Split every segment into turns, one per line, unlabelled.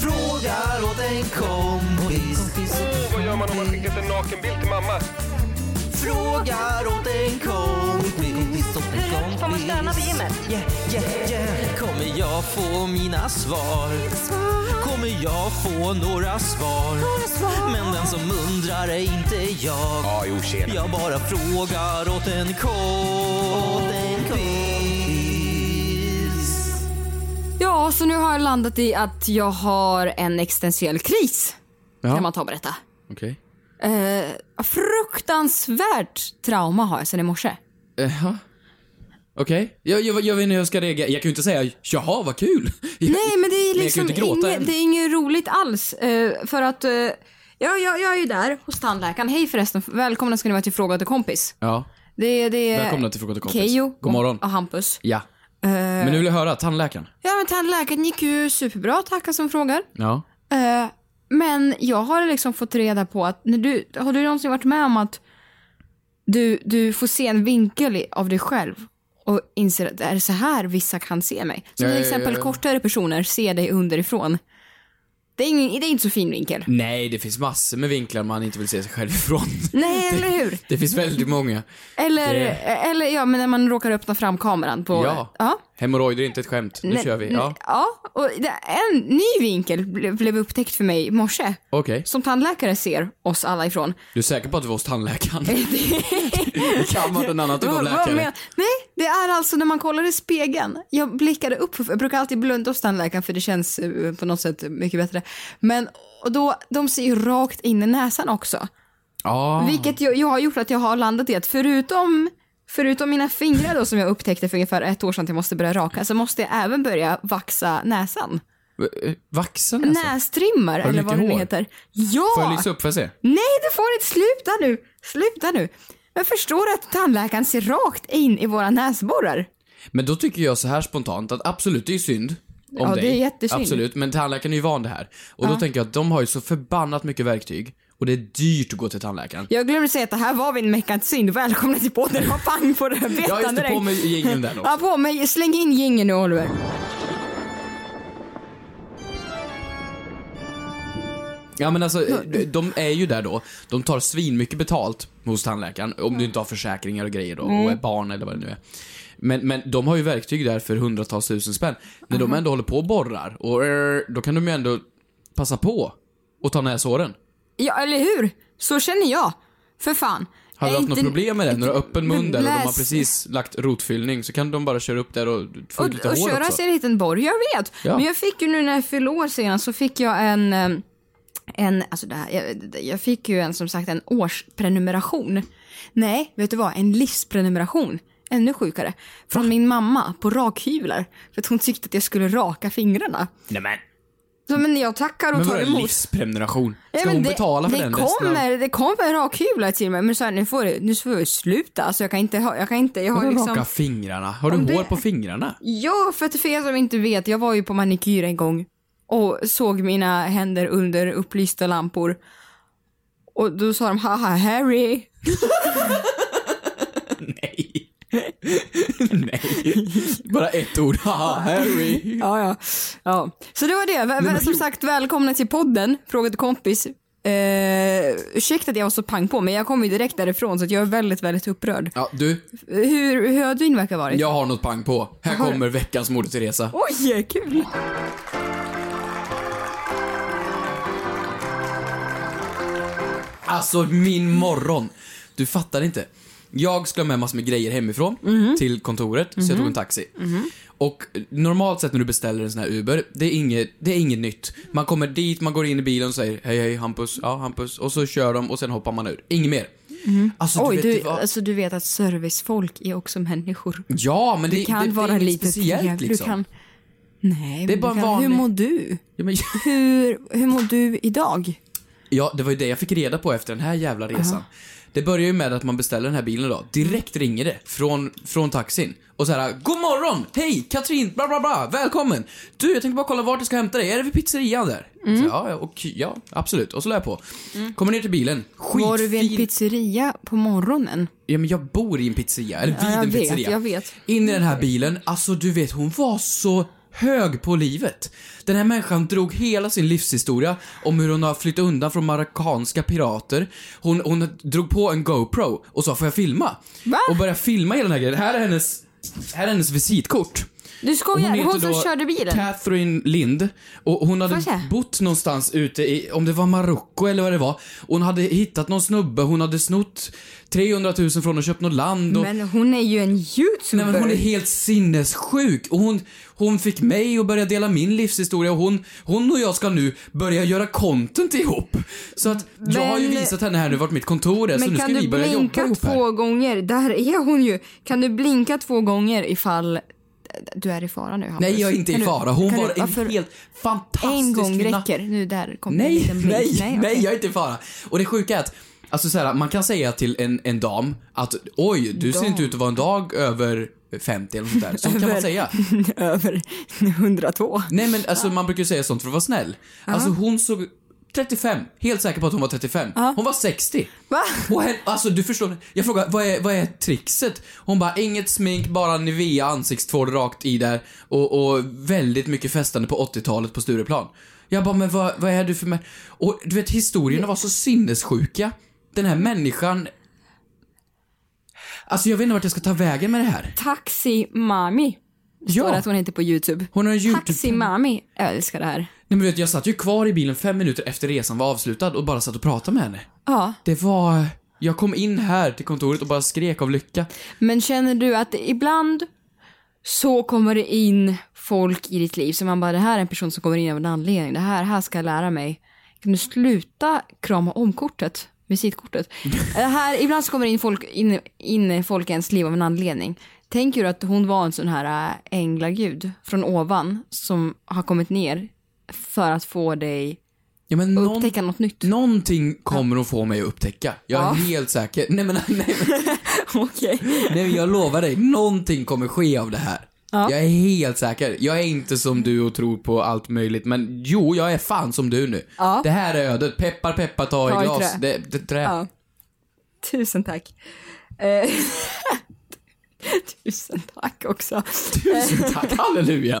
Frågar åt en kompis.
Vad gör man om man skickat en nakenbild till mamma?
Frågar åt en kompis.
Hur högt Mm, får man stöna på gymmet?
Yeah, yeah, yeah. Kommer jag få mina svar? Kommer jag få några svar? Men den som undrar är inte jag.
Ja, jo, tjena.
Jag bara frågar åt en kompis.
Ja, så nu har jag landat i att jag har en existentiell kris. Kan man ta och berätta.
Okej.
Eh, fruktansvärt trauma har jag sedan i morse.
Jaha. Okej. Jag, jag, jag vet inte hur jag ska reagera. Jag kan ju inte säga jaha vad kul.
Nej, men det är
ju
liksom
inte gråta
inget,
än.
det är inget roligt alls. Eh, för att eh, ja, jag, jag är ju där hos tandläkaren. Hej förresten, välkomna ska ni vara till Fråga till kompis.
Ja.
Det, det är
Välkomna till Fråga till kompis.
Keyyo
God morgon.
och Hampus.
Ja.
Eh.
Men nu vill jag höra, tandläkaren.
Ja, men tandläkaren gick ju superbra, tackar som frågar.
Ja.
Eh, men jag har liksom fått reda på att, när du, har du någonsin varit med om att du, du får se en vinkel i- av dig själv och inser att det är så här vissa kan se mig? Som till
Ja, ja, ja,
exempel
ja.
kortare personer ser dig underifrån. Det är, ingen, det är inte så fin vinkel.
Nej, det finns massor med vinklar man inte vill se sig själv ifrån.
Nej, eller hur?
Det finns väldigt många.
Eller,
det-
eller ja, men när man råkar öppna fram kameran på...
Ja.
ja.
Hemorrojder är inte ett skämt. Nu
Nej,
kör vi. Ja.
ja och det, en ny vinkel ble, blev upptäckt för mig i morse.
Okej.
Som tandläkare ser oss alla ifrån.
Du är säker på att du var hos tandläkaren? det kan vara en annan typ av
Vad- vad
läkare.
men- Nej, det är alltså när man kollar i spegeln. Jag blickade upp, jag brukar alltid blunda hos tandläkaren för det känns eh, på något sätt mycket bättre. Men och då, de ser ju rakt in i näsan också.
Ja.
Vilket jag, jag har gjort att jag har landat i att förutom, förutom mina fingrar då som jag upptäckte för ungefär ett år sedan att jag måste börja raka, så måste jag även börja vaxa näsan.
Eh, Vaxen alltså.
Nästrimmar eller
mycket
vad det nu
hår?
heter. Ja!
Får jag lysa upp för att se?
Nej, du får inte. Sluta nu. Sluta nu. Jag förstår att tandläkaren ser rakt in i våra näsborrar.
Men då tycker jag så här spontant att absolut, det är ju synd. Om
Ja, det
dig.
är jättesynd.
Absolut, men tandläkaren är ju van det här. Och då tänker jag att de har ju så förbannat mycket verktyg och det är dyrt att gå till tandläkaren.
Jag glömde säga att det här var min veckans synd. Välkomna till podden. Ha pang på det här
Ja, just
betan
det, på
direkt.
med jingeln där då.
Ja, på mig. Släng in gingen nu Oliver.
Ja men alltså, eh, de är ju där då. De tar svin mycket betalt hos tandläkaren, om du inte har försäkringar och grejer då,
Mm.
och är barn eller vad det nu är. Men, men de har ju verktyg där för hundratals tusen spänn. När de ändå håller på och borrar, och eh, då kan de ju ändå passa på och ta näshåren.
Ja, eller hur? Så känner jag. För fan.
Har du
Är
haft något
inte-
problem med det? När du har öppen mun där och de har
Läs-
precis lagt rotfyllning så kan de bara köra upp där och få ut lite
och, och
hår
köra
också.
sig en liten borg, jag vet.
Ja.
Men jag fick ju nu när jag fyllde år senast så fick jag en, eh, en alltså det här, jag, jag fick ju en som sagt en årsprenumeration. Nej, vet du vad, en livsprenumeration. Ännu sjukare. Från min mamma på rakhyvlar. För att hon tyckte att jag skulle raka fingrarna.
Nej men,
Så, men jag tackar och
men
tar
vadå en
emot.
livsprenumeration? Ska
Ja, men
hon
det-
betala för
det
den resten av...
kommer, Det kommer rakhyvlar till mig men så här, nu får du- nu får du sluta. Alltså jag kan inte ha, jag kan inte, jag har
Vadå
liksom...
raka fingrarna? Har du
Om det-
hår på fingrarna?
Ja, för att för er som inte vet, jag var ju på manikyr en gång och såg mina händer under upplysta lampor. Och då sa de haha Harry.
Nej. Nej. Bara ett ord. Haha, Harry.
Ja, ja. ja. Så det var det. Vä- vä- Som sagt, välkomna till podden, Fråga till kompis. Eh, ursäkta att jag var så pang på, men jag kom ju direkt därifrån så att jag är väldigt, väldigt upprörd.
Ja, du.
Hur, hur har din vecka varit?
Jag har något pang på. Här
Har du?
kommer veckans Moder Teresa.
Oj, kul!
Alltså min morgon! Du fattar inte. Jag skulle ha med massor med grejer hemifrån
Mhm.
till kontoret, så jag tog en taxi. Och normalt sett när du beställer en sån här Uber, det är, inget, det är inget nytt. Man kommer dit, man går in i bilen och säger hej hej Hampus, ja Hampus, och så kör de och sen hoppar man ur. Inget mer. Alltså,
Mhm. Oj,
vet,
du,
det var-
alltså, du vet att servicefolk är också människor.
Ja, men det,
Du kan
det, det
vara
är inget
lite
speciellt
trevlig.
liksom.
Du kan... Nej,
Det är
men
bara
du kan...
vanligt.
Hur mår du?
Ja, men,
Hur, hur mår du idag?
ja, det var ju det jag fick reda på efter den här jävla resan. Det börjar ju med att man beställer den här bilen då. Direkt ringer det från, från taxin. Och så här, God morgon! Hej! Katrin! Bla bla bla! Välkommen! Du, jag tänkte bara kolla vart jag ska hämta dig. Är det vid pizzerian där?
Mm.
Så, ja, ja, och, ja, absolut. Och så la jag på. Kommer ner till bilen. Skitfin.
Var Mm. du vid en pizzeria på morgonen?
Ja, men jag bor i en pizzeria. Eller vid
Ja, jag
en
vet,
pizzeria.
jag vet.
In i den här bilen. Alltså, du vet, hon var så hög på livet. Den här människan drog hela sin livshistoria om hur hon har flytt undan från marockanska pirater. Hon, hon drog på en GoPro och sa, får jag filma?
Va?
Och började filma hela den här grejen. Här är hennes, här är hennes visitkort.
Du skojar? Hon,
heter
som
då
körde bilen?
Catherine Lind. Och hon
Får
hade
jag se?
bott någonstans ute i, om det var Marocko eller vad det var. Hon hade hittat någon snubbe, hon hade snott 300 000 från och köpt något land. Och,
Men hon är ju en
Nej,
youtuber.
men hon är helt sinnessjuk. Och hon, hon fick mig att börja dela min livshistoria och hon, hon och jag ska nu börja göra content ihop. Så att jag har ju
Men-
visat henne här nu vart mitt kontor är, så
Men
alltså, nu ska
kan
vi
du
börja jobba
blinka
ihop här.
två gånger? Där är hon ju. Kan du blinka två gånger ifall du är i fara nu Hampus?
Nej, jag är inte
Kan
i
du-
fara. Hon
kan
var
du- varför-
en helt fantastisk
En gång
kvinna.
räcker. Nu där kom en
Nej,
liten blink.
nej, nej,
okej.
jag är inte i fara. Och det sjuka är att Alltså så här, man kan säga till en, en dam att oj, du ser
Dam.
inte ut att vara en dag över 50 eller något sånt där. Så kan man
Över.
säga.
Över 102.
Nej men alltså man brukar ju säga sånt för att vara snäll. Alltså hon såg 35, helt säker på att hon var 35. Hon var 60.
Va?
Och hen, alltså du förstår, jag frågar vad är, vad är trickset? Hon bara inget smink, bara Nivea ansiktstvål rakt i där och, och väldigt mycket festande på 80-talet på Stureplan. Jag bara men vad, vad är du för män? Och du vet historierna var så sinnessjuka. Den här människan Alltså jag vet inte vart jag ska ta vägen med det här.
Taxi Mami. Står
Ja.
att hon heter på Youtube.
Hon har en YouTube-
Taxi Mami. Jag älskar det här.
Nej men du vet, jag satt ju kvar i bilen fem minuter efter resan var avslutad och bara satt och pratade med henne.
Ja.
Det var... Jag kom in här till kontoret och bara skrek av lycka.
Men känner du att ibland så kommer det in folk i ditt liv som man bara, det här är en person som kommer in av en anledning. Det här, här ska jag lära mig. Kan du sluta krama om kortet? Visitkortet. det här, ibland så kommer det in folk, in, in folk i ens liv av en anledning. Tänker du att hon var en sån här äh, änglagud från ovan som har kommit ner för att få dig
Ja, men
att
någon,
upptäcka något nytt?
någonting kommer hon få mig att upptäcka. Jag är
Ja.
helt säker. Nej men, nej, men,
Okej.
nej men jag lovar dig, någonting kommer ske av det här. Jag är helt säker. Jag är inte som du och tror på allt möjligt, men jo, jag är fan som du nu.
Ja.
Det här är ödet. Peppar, peppar, ta,
Ta
i
i
glas.
trä.
Det, det, trä.
Ja. Tusen tack. Eh, Tusen tack också.
Tusen tack, halleluja.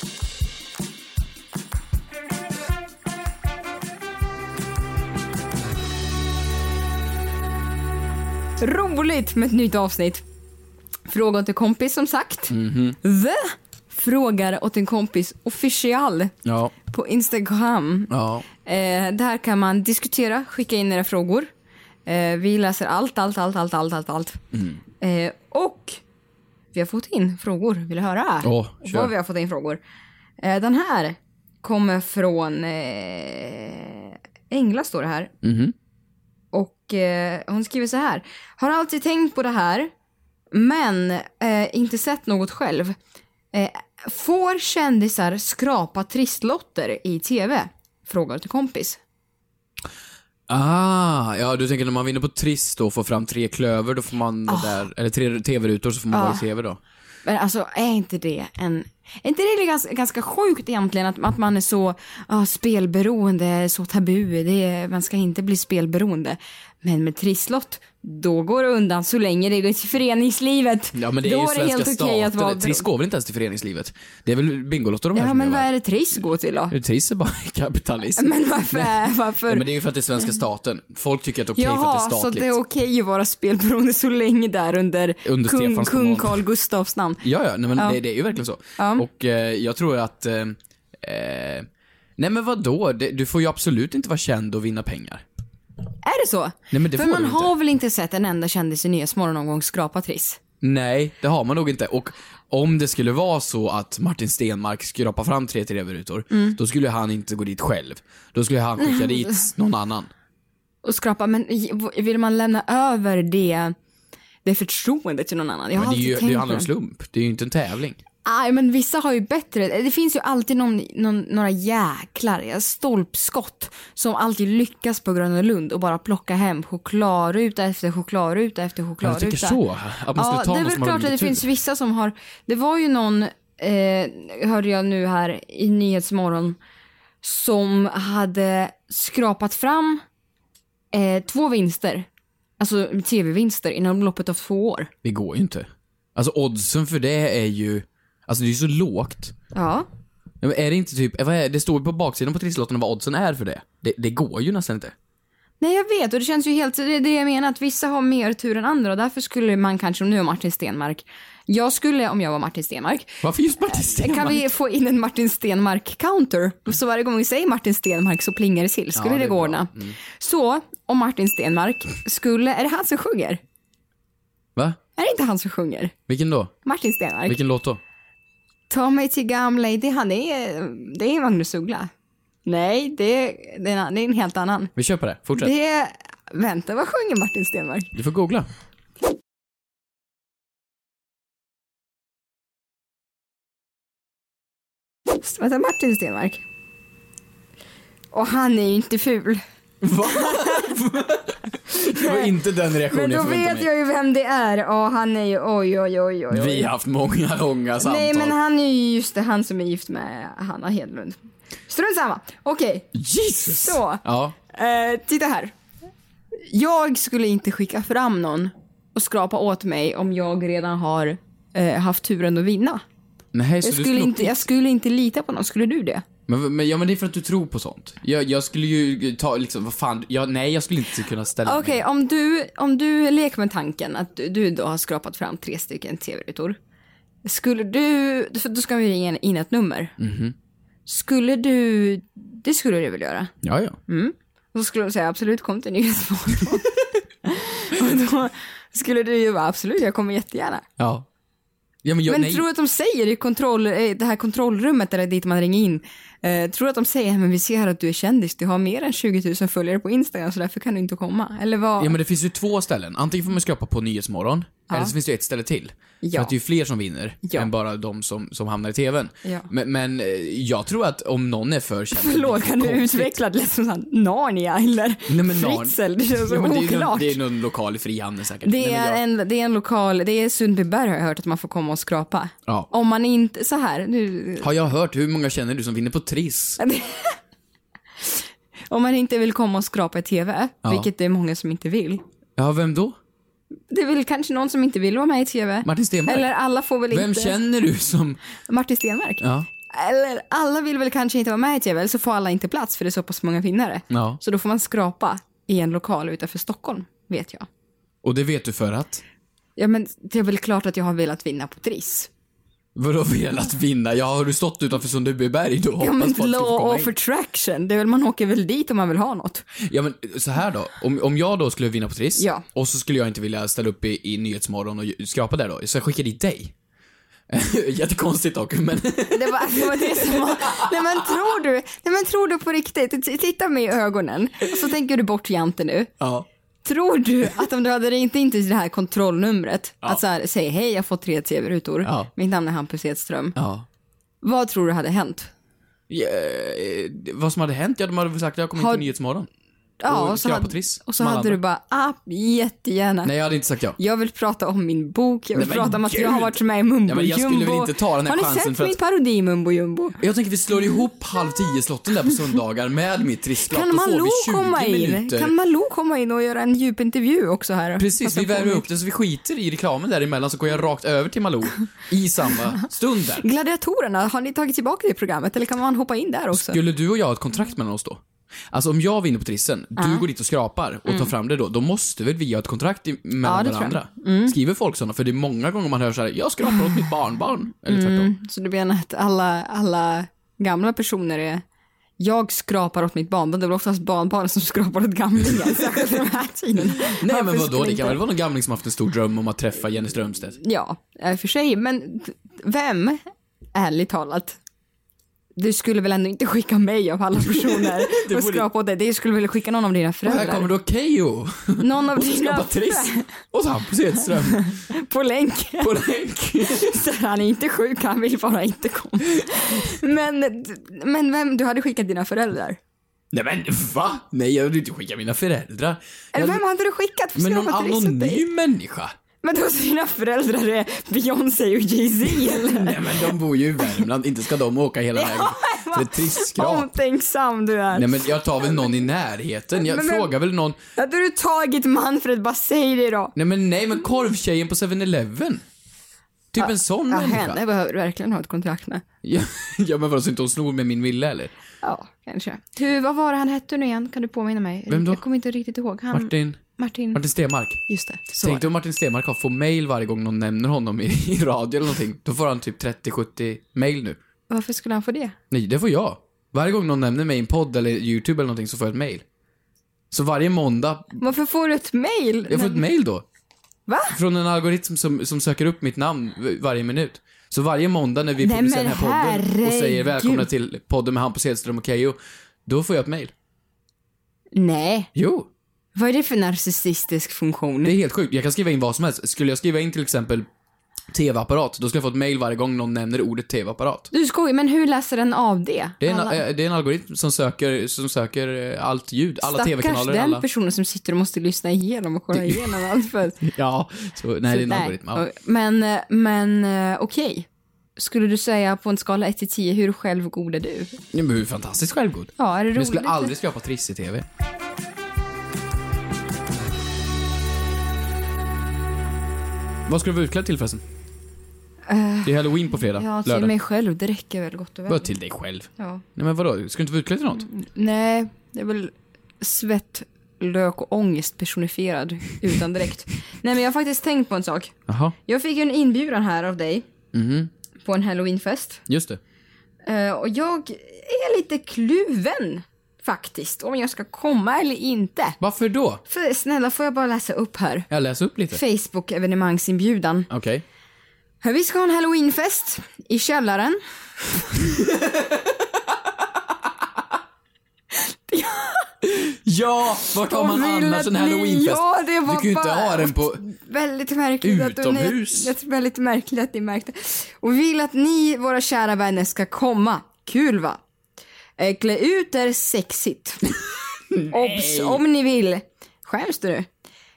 Roligt med ett nytt avsnitt. Fråga åt en kompis som sagt. The frågar åt en kompis official
Ja,
på Instagram.
ja.
Eh, där kan man diskutera, skicka in era frågor. Eh, vi läser allt, allt, allt, allt, allt, allt. allt.
Mm.
Eh, och vi har fått in frågor. Vill du höra?
Åh, kör.
Vad vi har fått in frågor. Eh, den här kommer från eh, Engla står det här. Och eh, hon skriver så här. Har alltid tänkt på det här, men eh, inte sett något själv. Eh, får kändisar skrapa tristlotter i tv? Frågar till kompis.
Ah, ja du tänker när man vinner på Triss då och får fram tre klöver, då får man
Ah.
det där, eller tre tv-rutor så får man vara i tv då.
Men alltså är inte det en... Är inte det ganska, ganska sjukt egentligen att, att man är så ja, spelberoende, är så tabu, det är, man ska inte bli spelberoende. Men med trisslott, då går det undan så länge det är föreningslivet.
Ja men det
då
är ju
är det
svenska
helt okej
staten.
att vara
Triss går väl inte ens till föreningslivet? Det är väl Bingolotto de här
Ja
som
men
gör,
vad
va?
är det Triss går till då?
Triss är bara kapitalism.
Men varför? varför?
Ja, men det är ju för att det är svenska staten. Folk tycker att det är okej för
Jaha,
att det
så
är statligt.
det är okej att vara spelberoende så länge där under,
Under
kung,
Stefans
kung
kommando.
Carl Gustafs namn?
Ja, ja, nej, men
Ja.
Det, det är ju verkligen så.
Ja.
Och eh, jag tror att... Eh, eh, nej men vadå? Det, du får ju absolut inte vara känd och vinna pengar.
Är det så?
Nej, men det
För
får
man
du inte.
har väl inte sett en enda kändis i Nyhetsmorgon någon gång skrapa Triss?
Nej, det har man nog inte. Och om det skulle vara så att Martin Stenmark skrapar fram tre TV-rutor,
Mm.
då skulle han inte gå dit själv. Då skulle han skicka dit någon annan.
och skrapa. Men i- vill man lämna över det, det förtroendet till någon annan? Jag har
men det, är
alltid
ju,
tänkt
det
på
handlar om
det.
slump. Det är ju inte en tävling.
Aj, men vissa har ju bättre. Det finns ju alltid någon, någon, några jäklar, ja, stolpskott som alltid lyckas på Gröna Lund och bara plocka hem chokladruta efter chokladruta efter
Ja,
chokladruta.
du tycker så? Att man skulle ta
det är
någon
väl
som
klart
har
att det
lite tur.
finns vissa som har, det var ju någon, eh, hörde jag nu här i Nyhetsmorgon, som hade skrapat fram eh, två vinster, alltså tv-vinster inom loppet av två år.
Det går ju inte. Alltså oddsen för det är ju... Alltså det är ju så lågt.
Ja.
Ja, Men är det inte typ, vad är, det står ju på baksidan på trisslotten vad oddsen är för det. Det, det går ju nästan inte.
Nej jag vet och det känns ju helt, det är det jag menar att vissa har mer tur än andra och därför skulle man kanske, om nu är Martin Stenmark, jag skulle om jag var Martin Stenmark,
Varför just Martin Stenmarck?
Kan vi få in en Martin Stenmark-counter? Så varje gång vi säger Martin Stenmark så plingar det till. Skulle
Ja,
det,
det är
gå
bra.
ordna?
Mm.
Så, om Martin Stenmark skulle... Är det han som sjunger?
Va?
Är det inte han som sjunger?
Vilken då?
Martin Stenmark.
Vilken låt då?
Ta mig till gamla i det, han är, det är Magnus Uggla. Nej, det, det, är, en annan- det är en helt annan.
Vi kör på det, fortsätt.
Det, vänta, vad sjunger Martin Stenmark?
Du får googla.
Vänta, Martin Stenmark. Och han är ju inte ful.
Va? Det var inte den reaktionen
Men då
jag förväntade
vet
mig.
jag ju vem det är. Och han är ju, oj, oj, oj, oj. oj.
Vi har haft många långa samtal.
Nej men han är ju just det, han som är gift med Hanna Hedlund. Strunt samma. Okej.
Jesus!
Så.
Ja.
Eh, titta här. Jag skulle inte skicka fram någon och skrapa åt mig om jag redan har eh, haft turen att vinna.
Nej, så
Jag
du
skulle,
slog-
inte, jag skulle inte lita på någon. Skulle du det?
Men, men, ja, men det är för att du tror på sånt. Jag, jag skulle ju ta, liksom, vad fan, jag, nej jag skulle inte kunna ställa
Okej,
mig.
om, du, om du leker med tanken att du, du då har skrapat fram tre stycken tv-rutor. Skulle du, för då ska vi ringa in ett nummer.
Mhm.
Skulle du, det skulle du väl göra?
Ja, ja.
Mm. Och så skulle de säga absolut kom till Nyhetsmorgon. och då skulle du ju vara absolut, jag kommer jättegärna.
Ja. Ja, men jag,
men
nej.
tror du att de säger i kontroll, eh, det här kontrollrummet eller dit man ringer in, eh, tror du att de säger men vi ser här att du är kändis, du har mer än 20 000 följare på Instagram så därför kan du inte komma? Eller vad?
Ja men det finns ju två ställen. Antingen får man skrapa på Nyhetsmorgon, eller så finns det ju ett ställe till.
Ja.
För att det är ju fler som vinner, än bara de som, som hamnar i TVn.
Ja.
Men, men eh, jag tror att om någon är för känd...
Förlåt, kan du
Konstigt.
utveckla det lät som sån här Narnia eller
Nej, men Narn-
Fritzl? Det känns så
men Det är, någon,
oklart.
det är någon lokal i Frihamnen säkert. Nej,
Det
men
är,
jag-
en, det är en lokal, det är Sundbyberg har jag hört att man får komma och skrapa.
Ja.
Om man inte, så här, nu,
Har jag hört, hur många känner du som vinner på Triss?
om man inte vill komma och skrapa i tv,
Ja.
vilket det är många som inte vill.
Ja, vem då?
Det är väl kanske någon som inte vill vara med i tv.
Martin Stenmarck?
Eller alla får väl
Vem
inte...
känner du som...
Martin Stenmarck?
Ja.
Eller alla vill väl kanske inte vara med i tv, eller så får alla inte plats för det är så pass många vinnare.
ja.
Så då får man skrapa i en lokal utanför Stockholm, vet jag.
Och det vet du för att?
Ja, men det är väl klart att jag har velat vinna på Triss.
Vadå velat vinna? Ja, har du stått utanför Sundbyberg då? och
Ja, men
hoppats på att du får
law
komma in?
of attraction, det är väl man åker väl dit om man vill ha något.
Ja men så här då, om, om jag då skulle vinna på Triss
Ja.
och så skulle jag inte vilja ställa upp i, i Nyhetsmorgon och ju- skrapa där då, så jag skickar dit dig. Jättekonstigt dock, men
Det var, det var det som var... Nej men tror du, nej, men tror du på riktigt, T- titta mig i ögonen, och så tänker du bort Jante nu.
ja.
Tror du att om du hade ringt in till det här kontrollnumret, att så här, säg hej jag får tre tv-rutor,
Ja.
mitt namn är Hampus Edström.
ja.
Vad tror du hade hänt?
Ja, eh, Vad som hade hänt? Ja, de hade väl sagt att jag kommer
Har-
in till Nyhetsmorgon.
Ja,
och,
och så,
köra
hade,
på Triss.
och så
som alla
hade du
andra.
bara, ah, jättegärna.
Nej, jag hade inte sagt ja.
Jag vill prata om min bok, jag vill
Nej, men
prata om att jag har
gud.
varit med i Mumbo
Ja, men jag skulle
Jumbo.
väl inte ta den här
har ni
chansen
sett
för att-
min parodi i Mumbo Jumbo?
Jag tänker vi slår ihop halv tio-slotten där på söndagar med mitt trisslopp.
Kan
Då får vi
Malou
20
komma in?
minuter.
Kan Malou komma in och göra en djupintervju också här?
Precis,
Passa
vi
på
värmer
med-
upp det så vi skiter i reklamen däremellan så går jag rakt över till Malou i samma stund där.
Gladiatorerna, har ni tagit tillbaka det programmet eller kan man hoppa in där också?
Skulle du och jag ha ett kontrakt mellan oss då? Alltså om jag vinner på trissen,
Ja.
du går dit och skrapar och tar
Mm.
fram det då, då måste väl vi ha ett kontrakt i-
Ja,
mellan
det tror jag.
varandra?
Mm.
Skriver folk sådana? För det är många gånger man hör så här: jag skrapar åt mitt barnbarn. Eller tvärtom.
Mm, så du menar att alla, alla gamla personer är jag skrapar åt mitt barnbarn, det är väl oftast barnbarn som skrapar åt gamlingar, särskilt i den här tiden.
Nej men
Varför
vadå,
skulle
det
inte-
kan väl vara någon gamling som haft en stor dröm om att träffa Jenny Strömstedt?
Ja, eh, för sig. Men t- vem, ärligt talat, du skulle väl ändå inte skicka mig av alla personer
Det
och
borde-
skrapa åt det. Du skulle väl skicka någon av dina
Och här kommer
föräldrar?
då Keyyo!
Någon av
Och så
dina
skapar Triss! Och så Hampus Hedström!
På länk.
På länk.
Så han är inte sjuk, han vill bara inte komma. Men, men vem, du hade skickat dina föräldrar?
Nej men va? Nej jag vill inte skicka mina föräldrar.
Eller
Jag-
vem hade du skickat? För
men någon
skrapa Triss åt dig?
anonym människa?
Men då så dina föräldrar är Beyoncé och Jay-Z eller?
Nej men de bor ju i Värmland, inte ska de åka hela vägen. För ett trisskrap.
Omtänksam du är.
Nej men jag tar väl någon i närheten. Jag
Men- men-
frågar väl någon.
Hade du tagit Manfred, bara säg det då.
Nej men nej men korvtjejen på 7-Eleven. Typ en sån
Ja, henne
människa.
behöver du verkligen ha ett kontrakt med.
Ja, ja men vadå så inte hon snor med min villa eller?
Ja, kanske. Du, vad var det han hette nu igen? Kan du påminna mig?
Vem då?
Jag kommer inte riktigt ihåg. Han,
Martin.
Martin.
Martin Stenmark.
Just det. Mm. Så.
Tänk dig om Martin Stenmark har får mail varje gång någon nämner honom i, i radio eller någonting. Då får han typ 30-70 mail nu.
Varför skulle han få det?
Nej, det får jag. Varje gång någon nämner mig i en podd eller YouTube eller någonting så får jag ett mail. Så varje måndag,
Varför får du ett mail?
jag får ett mail då.
Va?
Från en algoritm som, som söker upp mitt namn v- varje minut. Så varje måndag när vi
Nej,
publicerar den
men
här podden och säger
herregud.
välkomna till podden med Hampus Hedström och Keyyo, då får jag ett mail.
Nej.
Jo.
Vad är det för narcissistisk funktion?
Det är helt sjukt. Jag kan skriva in vad som helst. Skulle jag skriva in till exempel TV-apparat, då skulle jag få ett mail varje gång någon nämner ordet TV-apparat.
Du skojar, men hur läser den av det?
Det är, en,
Alla-
eh, det är en algoritm som söker, som söker eh, allt ljud, alla
Stackars
TV-kanaler,
den
alla...
personen som sitter och måste lyssna igenom och kolla igenom allt för...
Ja, så, nej, det är en
Sådär.
algoritm. Ja.
Men, eh, men eh, okej. Skulle du säga på en skala 1 till 10, hur självgod är du?
Ja, men hur fantastiskt självgod.
Ja, är det
Men jag skulle
roligt?
aldrig skapa triss i TV. Vad ska du vara utklädd till förresten?
Eh,
Det är halloween på fredag,
ja, till
lördag.
mig själv, det räcker väl gott och väl.
Vadå till dig själv?
Ja. Mm.
Nej men vadå, ska du inte vara utklädd till något?
Nej, det är väl svett, lök och ångest personifierad utan direkt. Nej, men jag har faktiskt tänkt på en sak.
Jaha,
Jag fick ju en inbjudan här av dig
mhm,
på en halloweenfest.
just det.
Eh, och jag är lite kluven faktiskt, om jag ska komma eller inte.
Varför då?
För, snälla, får jag bara läsa upp här?
Jag läser upp lite.
Facebook-evenemangsinbjudan.
Okej.
Vi ska ha en halloweenfest i källaren.
Ja, vart har man
Och vill
annars
att
en
ni-
halloweenfest?
Ja, det var
du kan ju inte
bara-
ha den på...
Väldigt märkligt
Utomhus.
att du... Nej, väldigt märkligt att ni märkte. Och vill att ni, våra kära vänner, ska komma. Kul va? Eh, Klä ut er sexigt. Obs, om ni vill. Skäms du nu?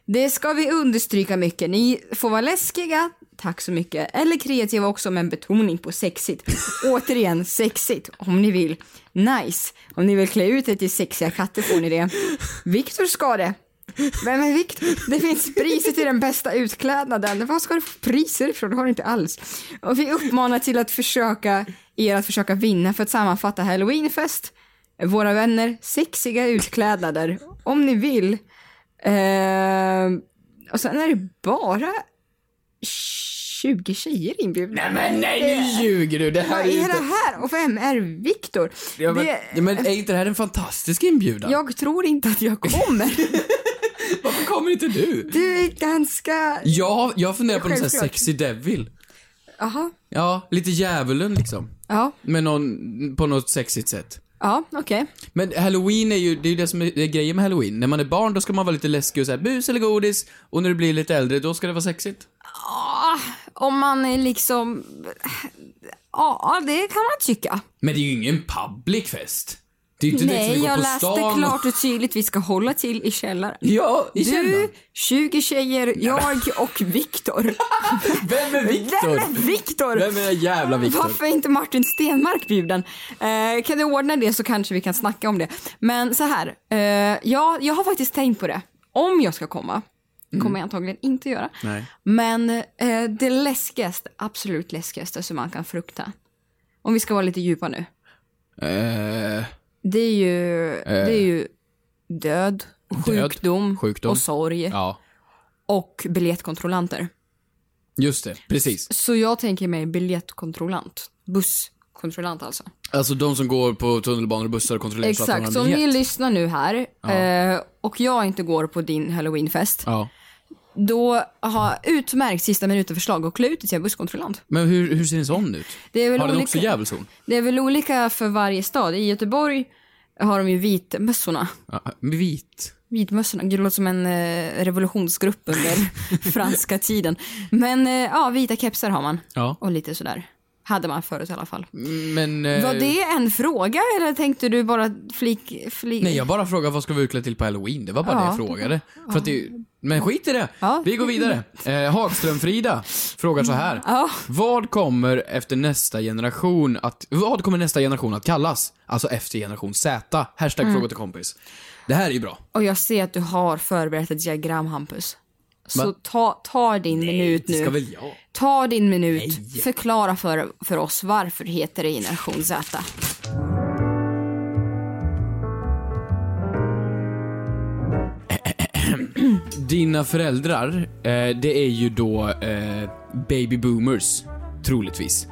Det ska vi understryka mycket. Ni får vara läskiga, tack så mycket. Eller kreativa också, men betoning på sexigt. Återigen, sexigt, om ni vill. Nice. Om ni vill klä ut er till sexiga katter får ni det. Viktor ska det. Vem är Viktor? Det finns priser till den bästa utklädnaden. Vad ska du få priser ifrån? Det har du inte alls. Och vi uppmanar till att försöka er att försöka vinna för att sammanfatta halloweenfest. Våra vänner, sexiga utklädnader. Om ni vill. Eh, och sen är det bara 20 tjejer inbjudna.
Nej men nej, nu ljuger du! Det här
Vad
är ju
är
inte...
det här? Och vem är Viktor?
Ja, men,
Det-
ja, men är inte det här en fantastisk inbjudan?
Jag tror inte att jag kommer.
Varför kommer inte du?
Du är ganska...
Ja, jag funderar på någon sån här
Självklart.
sexy devil.
Jaha.
Ja, lite djävulen liksom.
Ja,
Men någon, på något sexigt sätt.
ja okej.
Men halloween är ju, det är ju det som är, det är grejen med halloween. När man är barn då ska man vara lite läskig och säga bus eller godis. Och när du blir lite äldre då ska det vara sexigt.
Ah, om man är liksom... Ja, det kan man tycka.
Men det är ju ingen public fest. Det är ju inte direkt som
Nej,
vi går
jag
på
läste
stan.
klart och tydligt. Vi ska hålla till i källaren.
Ja, i
du,
källaren.
20 tjejer, jag och Viktor.
Vem är Viktor?
Vem är Viktor?
Vem är den jävla Viktor?
Varför är inte Martin Stenmark bjuden? Eh, kan du ordna det så kanske vi kan snacka om det. Men så här, eh, ja, jag har faktiskt tänkt på det. Om jag ska komma, kommer jag antagligen inte göra.
Mm. Nej.
Men eh, det läskigaste, absolut läskigaste som man kan frukta, om vi ska vara lite djupa nu,
Eh,
det är ju, det är ju död, sjukdom,
sjukdom.
och sorg
ja,
och biljettkontrollanter.
just det. Precis.
Så jag tänker mig biljettkontrollant, busskontrollant alltså.
Alltså de som går på tunnelbanor och bussar och kontrollerar så att
Exakt,
de
så
har
om
biljett.
ni lyssnar nu här
Ja.
eh, och jag inte går på din halloweenfest,
Ja.
då har utmärkt sista minuten förslag och klä ut dig till en busskontrollant.
Men hur, hur ser en sån ut?
Det är väl
har den
olika-
också djävulshorn?
Det är väl olika för varje stad. I Göteborg har de ju vitmössorna.
Ja, med vit.
Vitmössorna, det låter som en eh, revolutionsgrupp under franska tiden. Men eh, ja, vita kepsar har man.
Ja.
Och lite sådär. Hade man förut i alla fall.
Men... eh,
Var det en fråga eller tänkte du bara flik... flik...
Nej, jag bara frågade vad ska vi utklädda till på halloween? Det var bara
Ja.
det jag frågade. För att det, men skit i det. Vi går vidare. Eh, Hagström-Frida frågar så här. Vad kommer efter nästa generation att... Vad kommer nästa generation att kallas? Alltså efter generation Z. Hashtag
Mm.
fråga till kompis. Det här är ju bra.
Och jag ser att du har förberett ett diagram, Hampus. Så
Va?
ta, ta din minut
det
nu.
ska väl jag?
Ta din minut. Förklara för, för oss varför heter det generation Z.
Dina föräldrar, eh, det är ju då eh, baby boomers, troligtvis.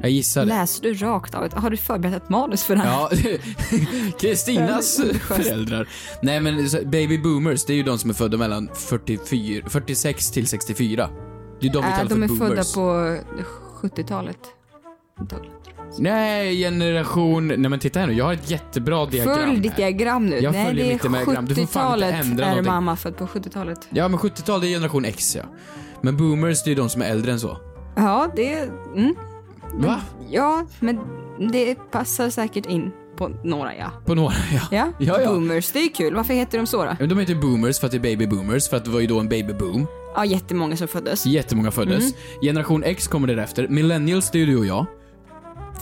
Jag gissar det.
Läser du rakt av? Har du förberett ett manus för det här?
Ja, Kristinas föräldrar. Nej men så- baby boomers, det är ju de som är födda mellan 44, 46 till 64. Det är de vi
Äh,
kallar
de är
för
födda
boomers.
på 70-talet.
Nej, generation... Nej men titta här nu, jag har ett jättebra diagram
Följ ditt
här.
diagram nu.
Jag
Nej,
följer
det är
mitt diagram. Du får fan inte
70-talet
ändra
är
någonting.
mamma född på 70-talet.
Ja men 70-tal, det är generation X ja. Men boomers, det är ju de som är äldre än så.
Ja, det... Mm.
Va?
Ja, men det passar säkert in på några, ja.
På några, ja.
Ja,
Ja, ja.
boomers. Det är kul. Varför heter de så då?
Men de heter boomers för att det är baby boomers, för att det var ju då en baby boom.
Ja, jättemånga som föddes.
Jättemånga föddes.
Mm.
Generation X kommer därefter. Millennials, det är ju du och jag.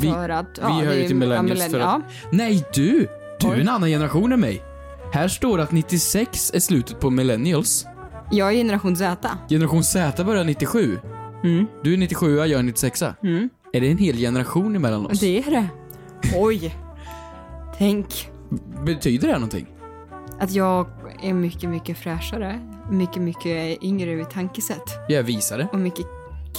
Vi,
För att- ja,
vi hör
det
ju
är-
till millennials
ja, millenn-
för att... Nej, du! Du är en annan generation än mig. Här står att 96 är slutet på millennials.
Jag är generation Z.
Generation Z börjar 97. Du är 97 jag är 96
Mm.
Är det en hel generation emellan oss?
Det är det. Oj. Tänk
Betyder det här någonting?
att jag är mycket, mycket fräschare. Mycket, mycket yngre i tankesätt.
Jag är visare.
Och mycket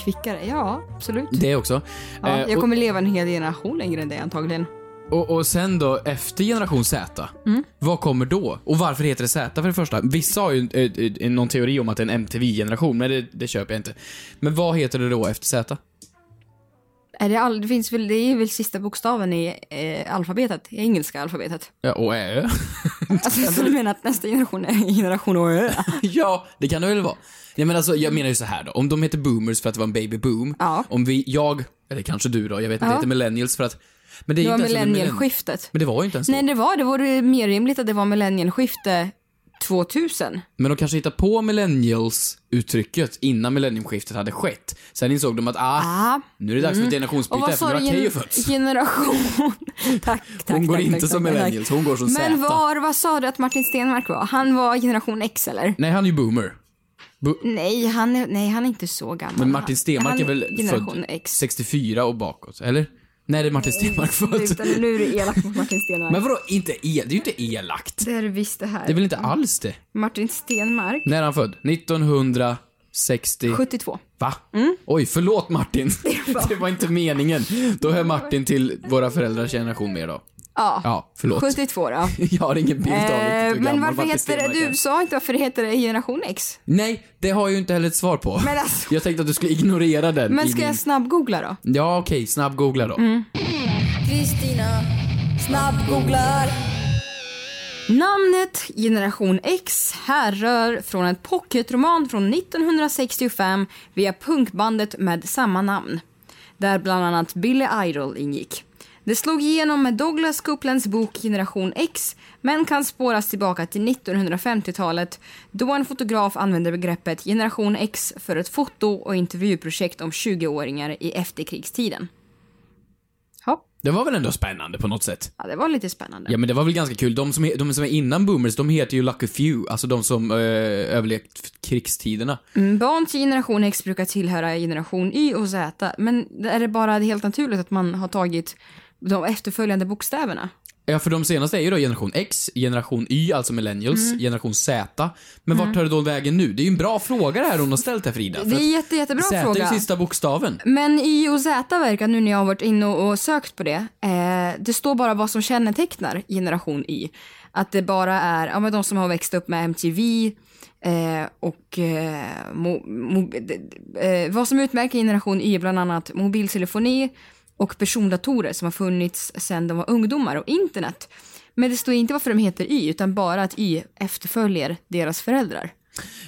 kvickare. Ja, absolut.
Det också.
Ja,
Eh,
jag kommer leva en hel generation längre än dig antagligen.
Och, och sen då, efter generation Z,
Mm.
vad kommer då? Och varför heter det Z för det första? Vissa har ju eh, eh, någon teori om att det är en MTV-generation, men det, det köper jag inte. Men vad heter det då efter Z?
Är det, all, det, finns väl, det är väl sista bokstaven i eh, alfabetet, i engelska alfabetet.
Ja, och Ö?
Alltså, så du menar att nästa generation är generation Ö?
ja, alltså, det kan det väl vara. Nej men alltså, jag menar ju så här då. Om de heter boomers för att det var en baby boom. Om vi, jag, eller kanske du då, jag vet inte,
Ja.
heter millennials för att... Men det är
Det
ju
var
inte ens en millenn-
millennieskiftet.
Men det var ju inte ens
Nej,
då.
det var det. vore mer rimligt att det var millennieskifte 2000.
Men de kanske hittade på millennials-uttrycket innan millenniumskiftet hade skett. Sen insåg de att, ah,
Ah.
nu är det dags för ett
Och vad
generationsbyte, för
sa
nu
du?
har Keyyo
Gen-
fötts.
Generation. tack, tack.
Hon går
tack,
inte
tack,
som
tack, tack.
millennials, hon går som
Men
Z.
var, vad sa du att Martin Stenmark var? Han var generation X eller?
Nej, han är ju boomer. Bo-
Nej, han är, nej, han är inte så gammal.
men Martin Stenmarck
han
är väl
generation
född 64 och bakåt, eller? Nej, det är Martin Stenmarck född.
Sluta nu, nu är du elak mot Martin Stenmark.
Men vadå, inte el? Det är ju inte elakt.
Det är Mm. det visst det här.
Det är väl inte alls det?
Martin Stenmark,
När är han född? 1960...
72.
Va?
Mm.
Oj, förlåt Martin. Det var inte meningen. Då hör Martin till våra föräldrars generation mer då.
Ja,
Ja, förlåt.
72 då.
Jag har ingen bild av riktigt hur
Eh, men
gammal
varför
Martin
heter det,
Stenmarck är.
du sa inte varför det heter det generation X?
Nej, det har jag ju inte heller ett svar på.
Men alltså-
Jag tänkte att du skulle ignorera den.
Men
i
ska
min...
jag Mm. snabbgoogla då?
Ja, okej. Snabb-googla då.
Kristina snabbgooglar. Namnet Generation X härrör från en pocketroman från 1965 via punkbandet med samma namn, där bland annat Billy Idol ingick. Det slog igenom med Douglas Couplands bok Generation X men kan spåras tillbaka till 1950-talet då en fotograf använde begreppet Generation X för ett foto och intervjuprojekt om 20-åringar i efterkrigstiden.
Det var väl ändå spännande på något sätt?
Ja, det var lite spännande.
Ja men det var väl ganska kul. De som, he- de som är innan boomers, de heter ju Lucky Few. Alltså de som eh, överlevt f- krigstiderna.
Mm, Barn till generation X brukar tillhöra generation Y och Z men är det bara helt naturligt att man har tagit de efterföljande bokstäverna?
Ja, för de senaste är ju då generation X, generation Y, alltså millennials,
Mm.
generation Z. Men
Mm.
vart tar det då vägen nu? Det är ju en bra fråga det här hon har ställt här Frida.
Det är en jätte, jättebra
Z är
fråga.
ju sista bokstaven.
Men Y och Z verkar, nu när jag har varit inne och och sökt på det, eh, det står bara vad som kännetecknar generation Y. Att det bara är ja, men de som har växt upp med MTV eh, och eh, mo, mo, d- d- eh, vad som utmärker generation Y är bland annat mobiltelefoni och persondatorer som har funnits sedan de var ungdomar och internet. Men det står inte varför de heter Y utan bara att Y efterföljer deras föräldrar.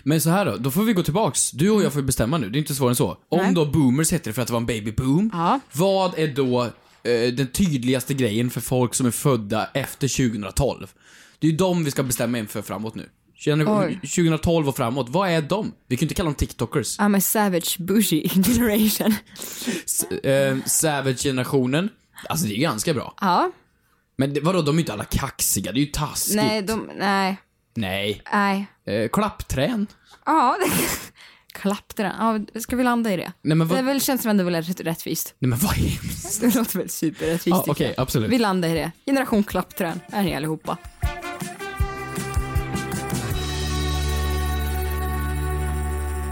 Men så här då, då får vi gå tillbaks. Du och jag får ju bestämma nu, det är inte svårare än så. Om
Mm. Nej.
då boomers heter det för att det var en baby boom. Vad är då eh, den tydligaste grejen för folk som är födda efter 2012? Det är ju de vi ska bestämma inför framåt nu. Gener-
Oj.
2012 och framåt, vad är de? Vi kan ju inte kalla dem TikTokers.
I'm a savage bougie generation.
S- eh, Savage-generationen. Alltså det är ganska bra.
Ja,
Men det, vadå, de är ju inte alla kaxiga, det är ju taskigt.
nej, de, nej,
Nej.
nej.
Eh, klappträn.
Ja, det- klappträn. Ja, ska vi landa i det?
Nej, men vad-
Det är väl, känns väl ändå väl rätt, rättvist.
Nej men vad hemskt.
Det låter väl superrättvist.
Ja,
tycker
okej,
jag.
absolut.
Vi landar i det. Generation klappträn. Här är ni allihopa.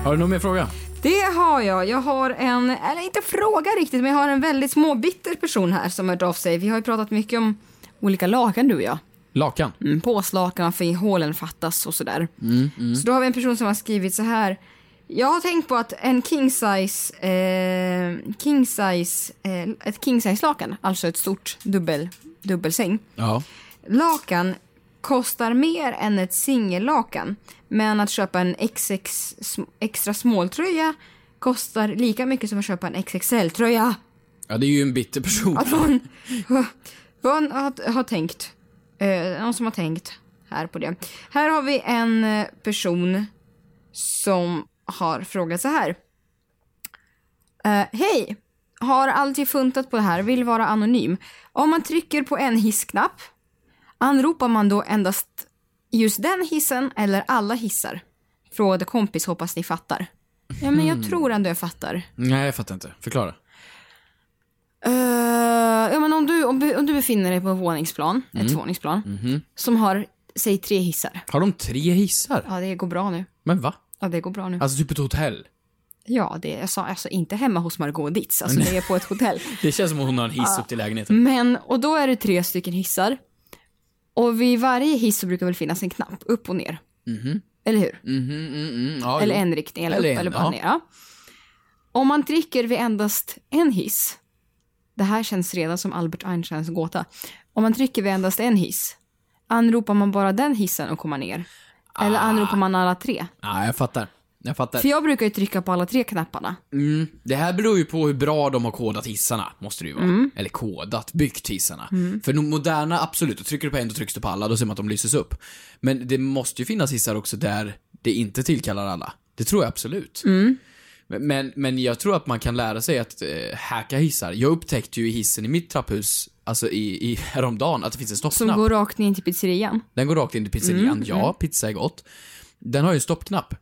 Har du någon mer fråga?
Det har jag. Jag har en, eller inte fråga riktigt, men jag har en väldigt småbitter person här som har hört av sig. Vi har ju pratat mycket om olika lakan du och jag.
Lakan.
Mm, påslakan, för hålen fattas och sådär.
Mm, mm.
Så då har vi en person som har skrivit så här. Jag har tänkt på att en king size, eh, king size, eh, ett king size lakan, alltså ett stort dubbel, dubbelsäng.
Ja.
Lakan kostar mer än ett singellakan. Men att köpa en XX, sm- extra småltröja kostar lika mycket som att köpa en XXL-tröja.
Ja, det är ju en bitter person.
Att hon, hon har, har tänkt. Eh, någon som har tänkt här på det. Här har vi en eh, person som har frågat så här. Eh, Hej! Har alltid funtat på det här, vill vara anonym. Om man trycker på en hissknapp, anropar man då endast just den hissen eller alla hissar? Frågade kompis, hoppas ni fattar. Ja, men jag
Mm.
tror ändå jag fattar.
Nej, jag fattar inte. Förklara.
Eh, ja, men om, du, om, du- om du befinner dig på en våningsplan, ett
Mm.
våningsplan,
Mhm.
som har, säg tre hissar.
Har de tre hissar?
Ja, det går bra nu.
Men va?
Ja, det går bra nu.
Alltså typ ett hotell?
ja, det, jag sa alltså inte hemma hos Margot Ditz, alltså det är på ett hotell.
Det känns som att hon har en hiss
Ja.
upp till lägenheten.
Men, och då är det tre stycken hissar. Och vid varje hiss så brukar väl finnas en knapp, upp och ner.
Mhm.
Eller hur?
Mhm, mm, mm. Ja,
eller
jo.
en riktning, eller, upp
en,
eller bara
ja.
ner. Ja. Om man dricker vid endast en hiss, det här känns redan som Albert Einsteins gåta. Om man dricker vid endast en hiss, anropar man bara den hissen och kommer ner? Eller
Ah.
anropar man alla tre?
Ja, jag fattar. Jag fattar.
För jag brukar ju trycka på alla tre knapparna.
Mm. Det här beror ju på hur bra de har kodat hissarna, måste det ju vara.
Mm.
Eller kodat, byggt hissarna.
Mm.
För de moderna, absolut, då trycker du på en, då trycks du på alla, då ser man att de lyses upp. Men det måste ju finnas hissar också där det inte tillkallar alla. Det tror jag absolut.
Mm.
Men- Men, men jag tror att man kan lära sig att eh, hacka hissar. Jag upptäckte ju i hissen i mitt trapphus, alltså i, i häromdagen, att det finns en
Som
stoppknapp.
går rakt ner till pizzerian.
Den går rakt in till pizzerian.
Mm,
Ja,
mm.
pizza är gott. Den har ju en stoppknapp.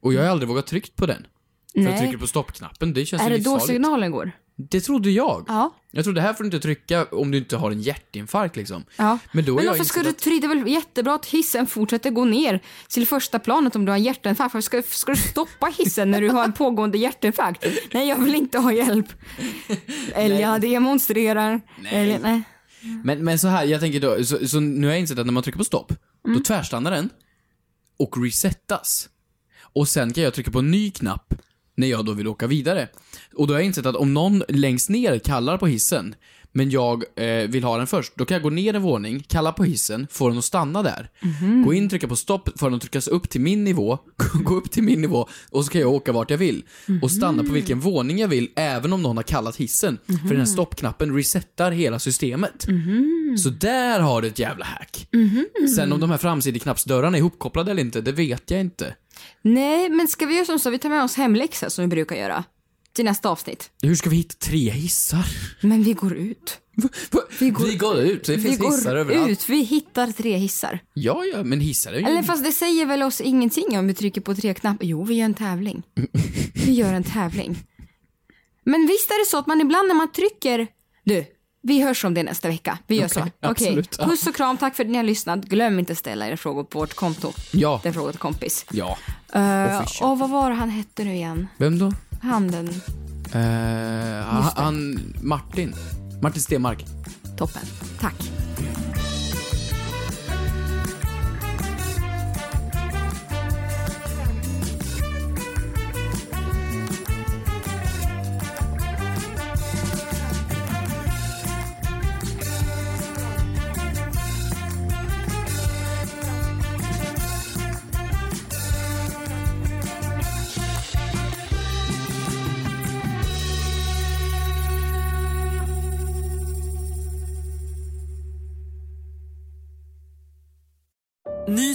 Och jag har aldrig vågat tryckt på den. För
Nej.
jag trycker på stoppknappen, det känns
Är
ju
det då
livsfarligt.
signalen går?
Det trodde jag.
Ja.
Jag trodde här får du inte trycka om du inte har en hjärtinfarkt liksom.
ja.
Men då har
Men
jag
varför ska
insett
du trycka? Det är väl jättebra att hissen fortsätter gå ner till första planet om du har en hjärtinfarkt. Varför ska, ska du stoppa hissen när du har en pågående hjärtinfarkt? Nej, jag vill inte ha hjälp. Eller jag demonstrerar.
Nej.
Eller, nej.
Men, men så här, jag tänker då, så, så nu har jag insett att när man trycker på stopp,
Mm.
då tvärstannar den och resetas. Och sen kan jag trycka på en ny knapp när jag då vill åka vidare. Och då har jag insett att om någon längst ner kallar på hissen, men jag eh, vill ha den först. Då kan jag gå ner en våning, kalla på hissen, få den att stanna där.
Mhm.
Gå in, trycka på stopp, få den att tryckas upp till min nivå, gå upp till min nivå och så kan jag åka vart jag vill. Och stanna på
Mhm.
vilken våning jag vill, även om någon har kallat hissen. För den här
Mhm.
stoppknappen resetar hela systemet. Så där har du ett jävla hack.
Mhm.
Sen om de här framsideknappsdörrarna är ihopkopplade eller inte, det vet jag inte.
Nej, men ska vi göra som så? Vi tar med oss hemläxa som vi brukar göra. Till nästa avsnitt.
Hur ska vi hitta tre hissar?
Men vi går ut.
Vi går, ut, det
vi
finns
går
hissar överallt.
ut. Vi hittar tre hissar.
Ja, ja, men hissar är ju...
Eller fast det säger väl oss ingenting om vi trycker på tre knappar. Jo, vi gör en tävling. Vi gör en tävling. Men visst är det så att man ibland när man trycker... Du, vi hörs om det nästa vecka. Vi gör
Okej,
så. Okej,
absolut. Ja.
puss och kram. Tack för att ni har lyssnat. Glöm inte ställa era frågor på vårt konto.
Ja.
Den frågan till kompis.
Ja.
Eh,
Official.
och vad var det han hette nu igen?
Vem då?
Handen.
Eh, han, han, Martin. Martin Stenmark.
Toppen. Tack.
Ny